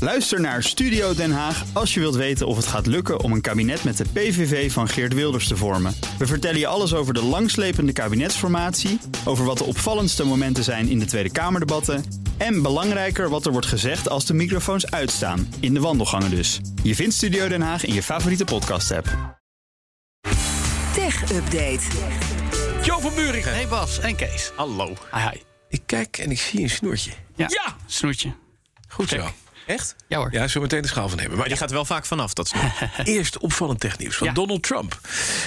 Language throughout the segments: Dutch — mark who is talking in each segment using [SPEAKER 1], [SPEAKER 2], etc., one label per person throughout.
[SPEAKER 1] Luister naar Studio Den Haag als je wilt weten of het gaat lukken om een kabinet met de PVV van Geert Wilders te vormen. We vertellen je alles over de langslepende kabinetsformatie, over wat de opvallendste momenten zijn in de Tweede Kamerdebatten en belangrijker wat er wordt gezegd als de microfoons uitstaan, in de wandelgangen dus. Je vindt Studio Den Haag in je favoriete podcast-app.
[SPEAKER 2] Tech Update.
[SPEAKER 3] Jo van Buringen.
[SPEAKER 4] Hey Bas en Kees.
[SPEAKER 3] Hallo.
[SPEAKER 4] Hi, hi.
[SPEAKER 5] Ik kijk en ik zie een snoertje.
[SPEAKER 4] Ja,
[SPEAKER 3] Ja!
[SPEAKER 4] snoertje.
[SPEAKER 5] Goed zo.
[SPEAKER 4] Kijk.
[SPEAKER 5] Echt?
[SPEAKER 4] Ja hoor.
[SPEAKER 5] Ja, zo meteen de schaal van hebben. Maar
[SPEAKER 3] Die gaat wel vaak vanaf, dat snap
[SPEAKER 5] eerst opvallend technieuws van
[SPEAKER 4] Ja.
[SPEAKER 5] Donald Trump.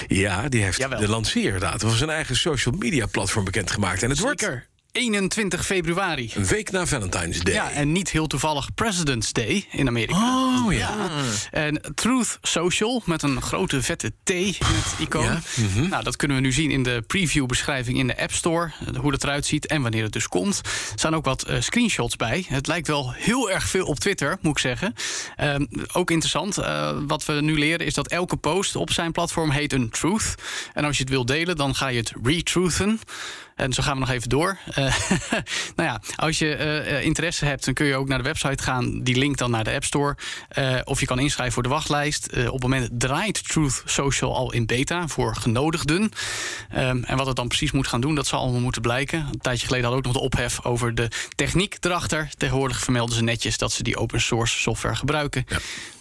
[SPEAKER 5] Ja, die heeft
[SPEAKER 4] Jawel.
[SPEAKER 5] de lanceerdatum van zijn eigen social media platform bekendgemaakt. En het wordt
[SPEAKER 4] Zeker. 21 februari.
[SPEAKER 5] een week na Valentine's Day.
[SPEAKER 4] Ja, en niet heel toevallig President's Day in Amerika.
[SPEAKER 5] Oh ja.
[SPEAKER 4] En Truth Social met een grote vette T in het icoon. Nou, dat kunnen we nu zien in de preview-beschrijving in de App Store. eh, Hoe dat eruit ziet en wanneer het dus komt. Er staan ook wat eh, screenshots bij. Het lijkt wel heel erg veel op Twitter, moet ik zeggen. Ehm, ook interessant. eh, wat we nu leren is dat elke post op zijn platform heet een truth. En als je het wil delen, dan ga je het retruthen. En zo gaan we nog even door. Eh, nou ja, als je eh, eh, interesse hebt, dan kun je ook naar de website gaan. Die link dan naar de App Store. Eh, of je kan inschrijven voor de wachtlijst. Eh, op het moment draait Truth Social al in beta voor genodigden. Ehm, en wat het dan precies moet gaan doen, dat zal allemaal moeten blijken. Een tijdje geleden hadden we ook nog de ophef over de techniek erachter. Tegenwoordig vermelden ze netjes dat ze die open source software gebruiken.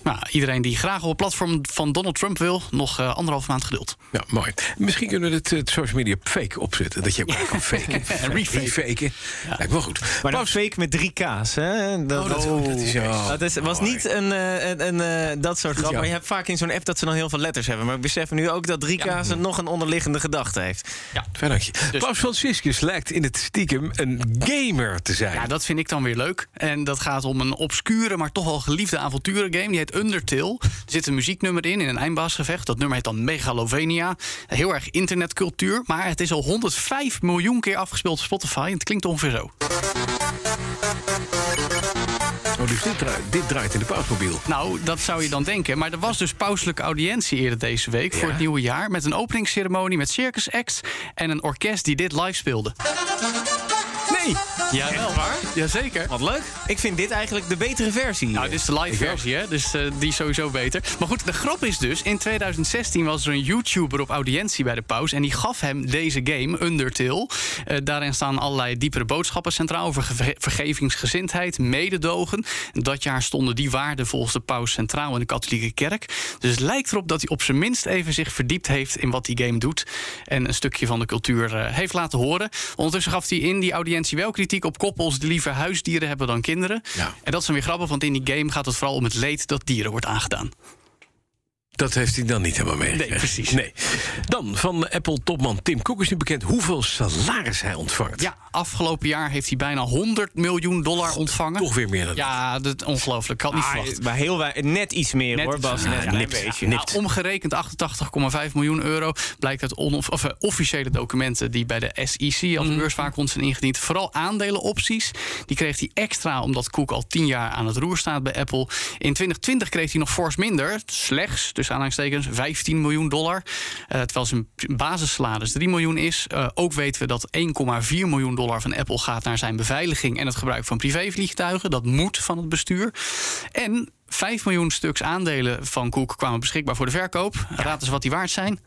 [SPEAKER 4] Nou, iedereen die graag op het platform van Donald Trump wil, nog eh, anderhalf maand geduld.
[SPEAKER 5] Nou, mooi. Misschien kunnen we het, eh, het social media fake opzetten. Dat je ook kan faken.
[SPEAKER 4] En refaken.
[SPEAKER 5] Refaken. Lijkt wel goed.
[SPEAKER 6] Maar dan
[SPEAKER 5] Paus-
[SPEAKER 6] fake met drie K's, hè? Dat,
[SPEAKER 5] Oh, dat- dat is- oh,
[SPEAKER 6] dat is- was
[SPEAKER 5] mooi.
[SPEAKER 6] niet een, eh, een, een, eh, dat soort grap.
[SPEAKER 5] Ja.
[SPEAKER 6] Maar je hebt vaak in zo'n app dat ze dan heel veel letters hebben. Maar we beseffen nu ook dat drie K's nog een onderliggende gedachte heeft.
[SPEAKER 5] Fijn dankje.
[SPEAKER 4] Dus-
[SPEAKER 5] Paus Franciscus lijkt in het stiekem een gamer te zijn.
[SPEAKER 4] Ja, dat vind ik dan weer leuk. En dat gaat om een obscure, maar toch wel geliefde avonturengame. Die heet Undertale. Er zit een muzieknummer in, in een eindbaasgevecht. Dat nummer heet dan Megalovania. Heel erg internetcultuur. Maar het is al 105 miljoen keer afgespeeld op Spotify. En het klinkt ongeveer zo.
[SPEAKER 5] Oh, dus dit, draait, dit draait in de pausmobiel.
[SPEAKER 4] Nou, dat zou je dan denken. Maar er was dus pauselijke audiëntie eerder deze week voor het nieuwe jaar. Met een openingsceremonie met circus acts en een orkest die dit live speelde.
[SPEAKER 6] Nee!
[SPEAKER 4] Ja, wel waar? Jazeker.
[SPEAKER 6] Wat leuk. Ik vind dit eigenlijk de betere versie.
[SPEAKER 4] Nou, dit is de live versie, hè? Dus eh, die is sowieso beter. Maar goed, de grap is dus: in 2016 was er een YouTuber op audiëntie bij de paus. En die gaf hem deze game, Undertale. Eh, daarin staan allerlei diepere boodschappen centraal over geve- vergevingsgezindheid, mededogen. En dat jaar stonden die waarden volgens de paus centraal in de katholieke kerk. Dus het lijkt erop dat hij op zijn minst even zich verdiept heeft in wat die game doet. En een stukje van de cultuur eh, heeft laten horen. Ondertussen gaf hij in die audiëntie wel kritiek op koppels die liever huisdieren hebben dan kinderen.
[SPEAKER 5] Ja.
[SPEAKER 4] En dat is dan weer grappig, want in die game gaat het vooral om het leed dat dieren wordt aangedaan.
[SPEAKER 5] Dat heeft hij dan niet helemaal meegekregen.
[SPEAKER 4] Nee, precies.
[SPEAKER 5] Nee. Dan van Apple-topman Tim Cook is nu bekend hoeveel salaris hij ontvangt.
[SPEAKER 4] Ja, afgelopen jaar heeft hij bijna 100 miljoen dollar ontvangen.
[SPEAKER 5] Toch weer meer dan
[SPEAKER 4] Ja, dat ongelooflijk. Ik had niet
[SPEAKER 6] Ah,
[SPEAKER 4] verwacht.
[SPEAKER 6] maar heel wei- net iets meer
[SPEAKER 4] Net
[SPEAKER 6] hoor,
[SPEAKER 4] iets
[SPEAKER 6] Bas.
[SPEAKER 4] meer,
[SPEAKER 6] Net
[SPEAKER 4] ja.
[SPEAKER 6] een
[SPEAKER 4] Nipt.
[SPEAKER 6] beetje.
[SPEAKER 4] Nou, omgerekend 88,5 miljoen euro blijkt uit onof- of, eh, officiële documenten die bij de SEC als beurswaakhond zijn ingediend. Vooral aandelenopties. Die kreeg hij extra omdat Cook al 10 jaar aan het roer staat bij Apple. In 2020 kreeg hij nog fors minder, slechts tussen aanhalingstekens 15 miljoen dollar. Eh, terwijl zijn basissalaris 3 miljoen is. Eh, ook weten we dat 1,4 miljoen dollar van Apple gaat naar zijn beveiliging en het gebruik van privévliegtuigen. Dat moet van het bestuur. En 5 miljoen stuks aandelen van Cook kwamen beschikbaar voor de verkoop. Raad eens wat die waard zijn.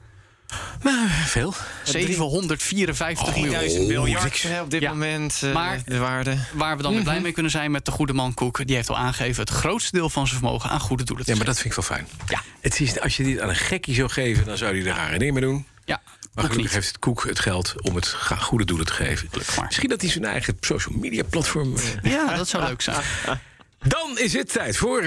[SPEAKER 5] Veel.
[SPEAKER 4] 754
[SPEAKER 5] Oh,
[SPEAKER 4] miljoen.
[SPEAKER 6] 1000 miljard
[SPEAKER 5] niks.
[SPEAKER 6] hè, op dit
[SPEAKER 4] Ja.
[SPEAKER 6] moment. eh,
[SPEAKER 4] Maar-
[SPEAKER 6] de waarde.
[SPEAKER 4] Waar we dan weer
[SPEAKER 5] Mhm.
[SPEAKER 4] blij mee kunnen zijn met de goede man Cook. Die heeft al aangegeven het grootste deel van zijn vermogen aan goede doelen te
[SPEAKER 5] Ja, maar dat vind ik wel fijn.
[SPEAKER 4] Ja.
[SPEAKER 5] Het is, als je dit aan een gekkie zou geven, dan zou hij er haar in mee doen.
[SPEAKER 4] Ja,
[SPEAKER 5] Maar
[SPEAKER 4] Cook
[SPEAKER 5] gelukkig
[SPEAKER 4] niet.
[SPEAKER 5] heeft het Koek het geld om het ga- goede doelen te geven.
[SPEAKER 4] maar.
[SPEAKER 5] Misschien dat hij zijn eigen social media platform... eh,
[SPEAKER 4] Ja, dat zou leuk zijn.
[SPEAKER 5] Dan is het tijd voor...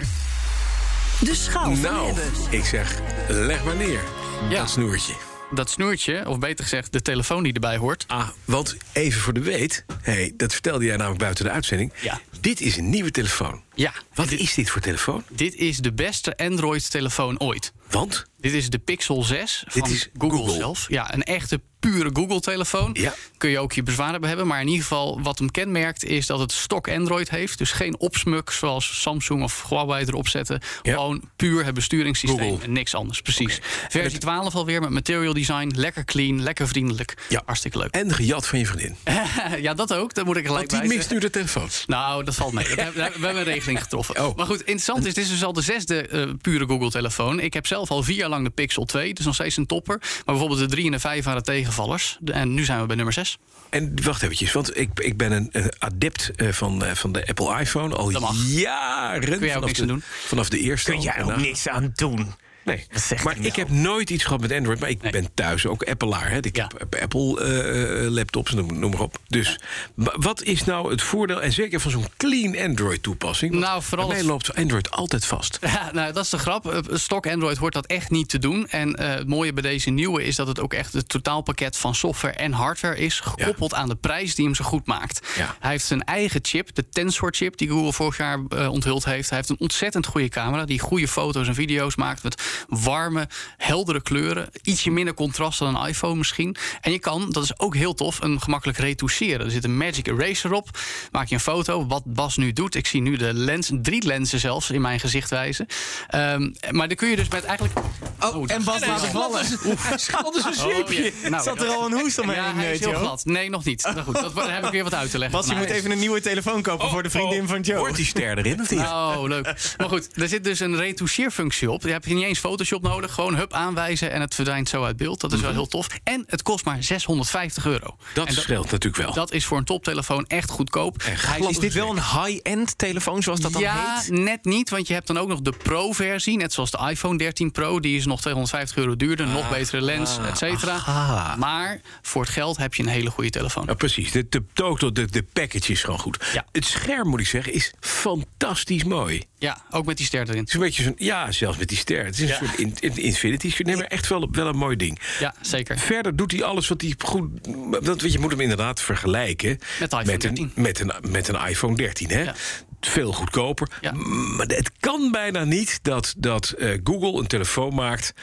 [SPEAKER 2] De schouw van
[SPEAKER 5] Nou,
[SPEAKER 2] hebben.
[SPEAKER 5] ik zeg, leg maar neer.
[SPEAKER 4] Oh, Ja.
[SPEAKER 5] Dat snoertje.
[SPEAKER 4] Dat snoertje, of beter gezegd de telefoon die erbij hoort.
[SPEAKER 5] Ah, want even voor de weet... Hey, dat vertelde jij namelijk buiten de uitzending.
[SPEAKER 4] Ja.
[SPEAKER 5] Dit is een nieuwe telefoon.
[SPEAKER 4] Ja,
[SPEAKER 5] Wat is dit voor telefoon?
[SPEAKER 4] dit is de beste Android-telefoon ooit.
[SPEAKER 5] Want?
[SPEAKER 4] Dit is de Pixel 6 van
[SPEAKER 5] Dit is
[SPEAKER 4] Google,
[SPEAKER 5] Google.
[SPEAKER 4] zelf. Ja, een echte pure Google-telefoon.
[SPEAKER 5] Ja.
[SPEAKER 4] Kun je ook je bezwaar bij hebben. Maar in ieder geval, wat hem kenmerkt, is dat het stok Android heeft. Dus geen opsmuk zoals Samsung of Huawei erop zetten.
[SPEAKER 5] Ja.
[SPEAKER 4] Gewoon puur het besturingssysteem
[SPEAKER 5] Google.
[SPEAKER 4] en niks anders. Precies. Versie 12 alweer met material design. Lekker clean, lekker vriendelijk.
[SPEAKER 5] Ja.
[SPEAKER 4] Hartstikke leuk.
[SPEAKER 5] En gejat van je vriendin.
[SPEAKER 4] ja, dat ook. Dat moet ik er gelijk
[SPEAKER 5] Want die
[SPEAKER 4] bij
[SPEAKER 5] mist nu de telefoon.
[SPEAKER 4] nou, dat valt mee. Dat hebben- we hebben een regeling getroffen.
[SPEAKER 5] Oh.
[SPEAKER 4] Maar goed, interessant is, dit is dus al de zesde eh, pure Google-telefoon. Ik heb zelf al vier jaar lang de Pixel 2, dus nog steeds een topper. Maar bijvoorbeeld de 3 en de 5 waren tegenvallers. De- En nu zijn we bij nummer 6.
[SPEAKER 5] En wacht eventjes, want ik, ik ben een eh, adept eh, van, eh, van de Apple iPhone al
[SPEAKER 4] Dat mag.
[SPEAKER 5] jaren.
[SPEAKER 4] ook
[SPEAKER 5] vanaf
[SPEAKER 4] niks
[SPEAKER 5] de,
[SPEAKER 4] aan doen?
[SPEAKER 5] Vanaf de eerste.
[SPEAKER 6] Kun
[SPEAKER 5] al.
[SPEAKER 6] jij ook
[SPEAKER 5] Nou,
[SPEAKER 6] niks aan doen?
[SPEAKER 5] Nee,
[SPEAKER 6] Dat zegt
[SPEAKER 5] maar
[SPEAKER 6] hij
[SPEAKER 5] ik
[SPEAKER 6] nou.
[SPEAKER 5] heb nooit iets gehad met Android. Maar ik
[SPEAKER 4] Nee.
[SPEAKER 5] ben thuis ook Appelaar. Hè. Ik
[SPEAKER 4] Ja.
[SPEAKER 5] heb Apple-laptops, noem, noem maar op. Dus maar wat is nou het voordeel, en zeker van zo'n clean Android-toepassing? Want
[SPEAKER 4] Nou, vooral
[SPEAKER 5] Bij mij
[SPEAKER 4] het-
[SPEAKER 5] loopt zo'n Android altijd vast.
[SPEAKER 4] Ja, nou, dat is de grap. Eh, Stock Android hoort dat echt niet te doen. En eh, het mooie bij deze nieuwe is dat het ook echt het totaalpakket van software en hardware is. Gekoppeld aan de prijs die hem zo goed maakt.
[SPEAKER 5] Ja.
[SPEAKER 4] Hij heeft zijn eigen chip, de Tensor-chip, die Google vorig jaar eh, onthuld heeft. Hij heeft een ontzettend goede camera die goede foto's en video's maakt. Met warme, heldere kleuren. Ietsje minder contrast dan een iPhone misschien. En je kan, dat is ook heel tof, een gemakkelijk retoucheren. Er zit een Magic Eraser op. Maak je een foto, wat Bas nu doet. Ik zie nu de lens, drie lenzen zelfs in mijn gezicht wijzen. Ehm, maar dan kun je dus met eigenlijk. Oh,
[SPEAKER 6] en Bas laat
[SPEAKER 4] dat-
[SPEAKER 6] het vallen.
[SPEAKER 5] Dat is een
[SPEAKER 4] Oh, ja. Nou,
[SPEAKER 6] Zat er al een hoest omheen,
[SPEAKER 4] ja,
[SPEAKER 6] in
[SPEAKER 4] hij is heel
[SPEAKER 6] Joe?
[SPEAKER 4] glad. Nee, nog niet. Nou goed, dat, daar heb ik weer wat uit te leggen.
[SPEAKER 6] Bas, je moet
[SPEAKER 4] vanavond.
[SPEAKER 6] even een nieuwe telefoon kopen voor de vriendin van Joe. Nou,
[SPEAKER 5] Hoort die ster erin of niet?
[SPEAKER 4] Oh, leuk. Maar goed, er zit dus een retoucheerfunctie op. Je hebt niet eens Photoshop nodig. Gewoon hup aanwijzen en het verdwijnt zo uit beeld. Dat is wel heel tof. En het kost maar 650 euro.
[SPEAKER 5] Mhm. dat
[SPEAKER 4] en dat-
[SPEAKER 5] scheelt natuurlijk wel.
[SPEAKER 4] Dat is voor een toptelefoon echt goedkoop. Hij
[SPEAKER 6] Is dit wel een high-end telefoon, zoals dat dan
[SPEAKER 4] ja,
[SPEAKER 6] heet?
[SPEAKER 4] net niet, want je hebt dan ook nog de Pro-versie. Net zoals de iPhone 13 Pro. Die is nog 250 euro duurder.
[SPEAKER 5] Ah.
[SPEAKER 4] nog betere lens, et cetera. Maar voor het geld heb je een hele goede telefoon.
[SPEAKER 5] Ja, precies. De, de, de, de, de package is gewoon goed.
[SPEAKER 4] Ja.
[SPEAKER 5] Het scherm, moet ik zeggen, is fantastisch mooi. Het
[SPEAKER 4] Ja, ook met die ster erin.
[SPEAKER 5] is een beetje zo'n... Ja, zelfs met die ster. Het is een
[SPEAKER 4] Ja.
[SPEAKER 5] soort in, in- infinity. sfeer. Nee, maar echt wel, wel een mooi ding.
[SPEAKER 4] Ja, zeker.
[SPEAKER 5] Verder doet hij alles wat hij goed... Want je moet hem inderdaad vergelijken...
[SPEAKER 4] Met de iPhone
[SPEAKER 5] een,
[SPEAKER 4] 13.
[SPEAKER 5] met een, met een iPhone 13, hè?
[SPEAKER 4] Ja.
[SPEAKER 5] Veel goedkoper.
[SPEAKER 4] Ja.
[SPEAKER 5] Maar het kan bijna niet dat, dat eh, Google een telefoon maakt...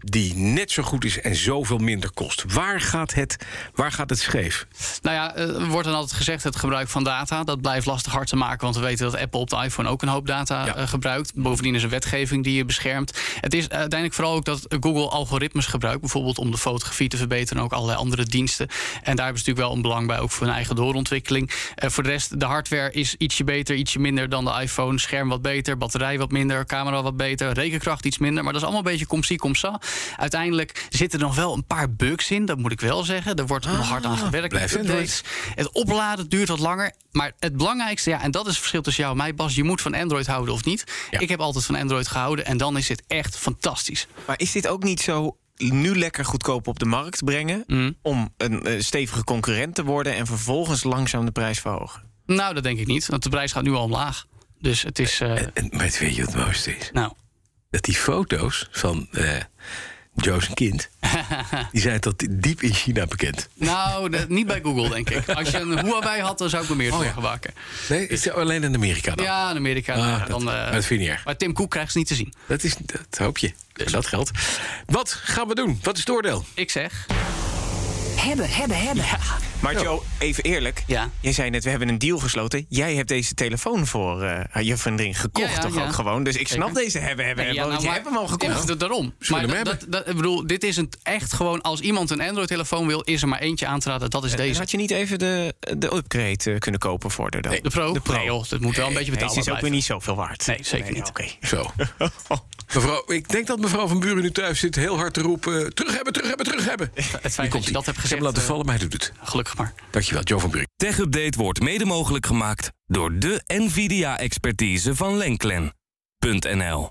[SPEAKER 5] die net zo goed is en zoveel minder kost. Waar gaat het, waar gaat het scheef?
[SPEAKER 4] Nou ja, eh, er wordt dan altijd gezegd het gebruik van data. Dat blijft lastig hard te maken, want we weten dat Apple op de iPhone ook een hoop data
[SPEAKER 5] Ja.
[SPEAKER 4] eh, gebruikt. Bovendien is er wetgeving die je beschermt. Het is eh, uiteindelijk vooral ook dat Google algoritmes gebruikt, bijvoorbeeld om de fotografie te verbeteren en ook allerlei andere diensten. En daar hebben ze natuurlijk wel een belang bij, ook voor hun eigen doorontwikkeling. Eh, voor de rest, de hardware is ietsje beter, ietsje minder dan de iPhone. Scherm wat beter, batterij wat minder, camera wat beter, rekenkracht iets minder. Maar dat is allemaal een beetje kom zie, kom sa. Uiteindelijk zitten er nog wel een paar bugs in, dat moet ik wel zeggen. Er wordt nog hard aan gewerkt.
[SPEAKER 5] blijf
[SPEAKER 4] Updates.
[SPEAKER 5] Android.
[SPEAKER 4] Het opladen duurt wat langer. Maar het belangrijkste, ja, en dat is het verschil tussen jou en mij, Bas. Je moet van Android houden of niet.
[SPEAKER 5] Ja.
[SPEAKER 4] Ik heb altijd van Android gehouden. En dan is dit echt fantastisch.
[SPEAKER 6] Maar is dit ook niet zo nu lekker goedkoop op de markt brengen...
[SPEAKER 4] Mm.
[SPEAKER 6] om een eh, stevige concurrent te worden en vervolgens langzaam de prijs verhogen?
[SPEAKER 4] Nou, dat denk ik niet. Want de prijs gaat nu al omlaag. Dus het is. eh,
[SPEAKER 5] En, maar het weet je wat het mooiste is?
[SPEAKER 4] nou,
[SPEAKER 5] Dat die foto's van eh Joe's kind... die zijn tot diep in China bekend.
[SPEAKER 4] nou dat- niet bij Google, denk ik. Als je een Huawei had, dan zou ik me meer zorgen maken.
[SPEAKER 5] Nee, is het alleen in Amerika dan?
[SPEAKER 4] Ja, in Amerika.
[SPEAKER 5] Ah,
[SPEAKER 4] nou,
[SPEAKER 5] dat-
[SPEAKER 4] dan, eh,
[SPEAKER 5] maar dat vind je niet erg.
[SPEAKER 4] maar Tim Cook krijgt ze niet te zien.
[SPEAKER 5] Dat, is, dat hoop je. Dat geldt. Wat gaan we doen? Wat is het oordeel?
[SPEAKER 4] Ik zeg.
[SPEAKER 2] Hebben, hebben, hebben.
[SPEAKER 6] Maar Joe, even eerlijk.
[SPEAKER 4] Ja.
[SPEAKER 6] Jij zei net, we hebben een deal gesloten. Jij hebt deze telefoon voor eh je vriendin gekocht,
[SPEAKER 4] Ja, ja,
[SPEAKER 6] toch
[SPEAKER 4] ja.
[SPEAKER 6] ook gewoon? Dus ik snap
[SPEAKER 4] Zeker.
[SPEAKER 6] deze hebben, hebben,
[SPEAKER 4] Nee,
[SPEAKER 6] hebben. want
[SPEAKER 4] nou,
[SPEAKER 6] je
[SPEAKER 4] maar-
[SPEAKER 6] hebt hem al
[SPEAKER 4] Ja,
[SPEAKER 6] gekocht.
[SPEAKER 4] d- daarom.
[SPEAKER 5] Zullen we
[SPEAKER 4] maar
[SPEAKER 5] hem
[SPEAKER 4] dat, dat, ik bedoel, dit is een, echt gewoon... als iemand een Android-telefoon wil, is er maar eentje aan te raden. Dat is
[SPEAKER 6] En
[SPEAKER 4] deze.
[SPEAKER 6] had je niet even de, de upgrade eh, kunnen kopen voor de dan?
[SPEAKER 4] De Pro?
[SPEAKER 6] De Pro.
[SPEAKER 4] Nee, joh, dat moet wel een beetje
[SPEAKER 6] Deze
[SPEAKER 4] betaalbaar
[SPEAKER 6] is ook
[SPEAKER 4] blijven.
[SPEAKER 6] weer niet zoveel waard.
[SPEAKER 4] Nee, zeker niet.
[SPEAKER 6] Oké.
[SPEAKER 5] Zo. Mevrouw, ik denk dat mevrouw van Buren nu thuis zit heel hard te roepen... terug hebben, terug hebben, terug hebben.
[SPEAKER 4] Het feit dat je dat hebt
[SPEAKER 5] Ik heb
[SPEAKER 4] gezegd,
[SPEAKER 5] hem laten
[SPEAKER 4] eh,
[SPEAKER 5] vallen, maar hij doet het.
[SPEAKER 4] gelukkig maar.
[SPEAKER 5] Dankjewel, Joe van Buren.
[SPEAKER 7] TechUpdate wordt mede mogelijk gemaakt door de NVIDIA-expertise van Lenklen.nl.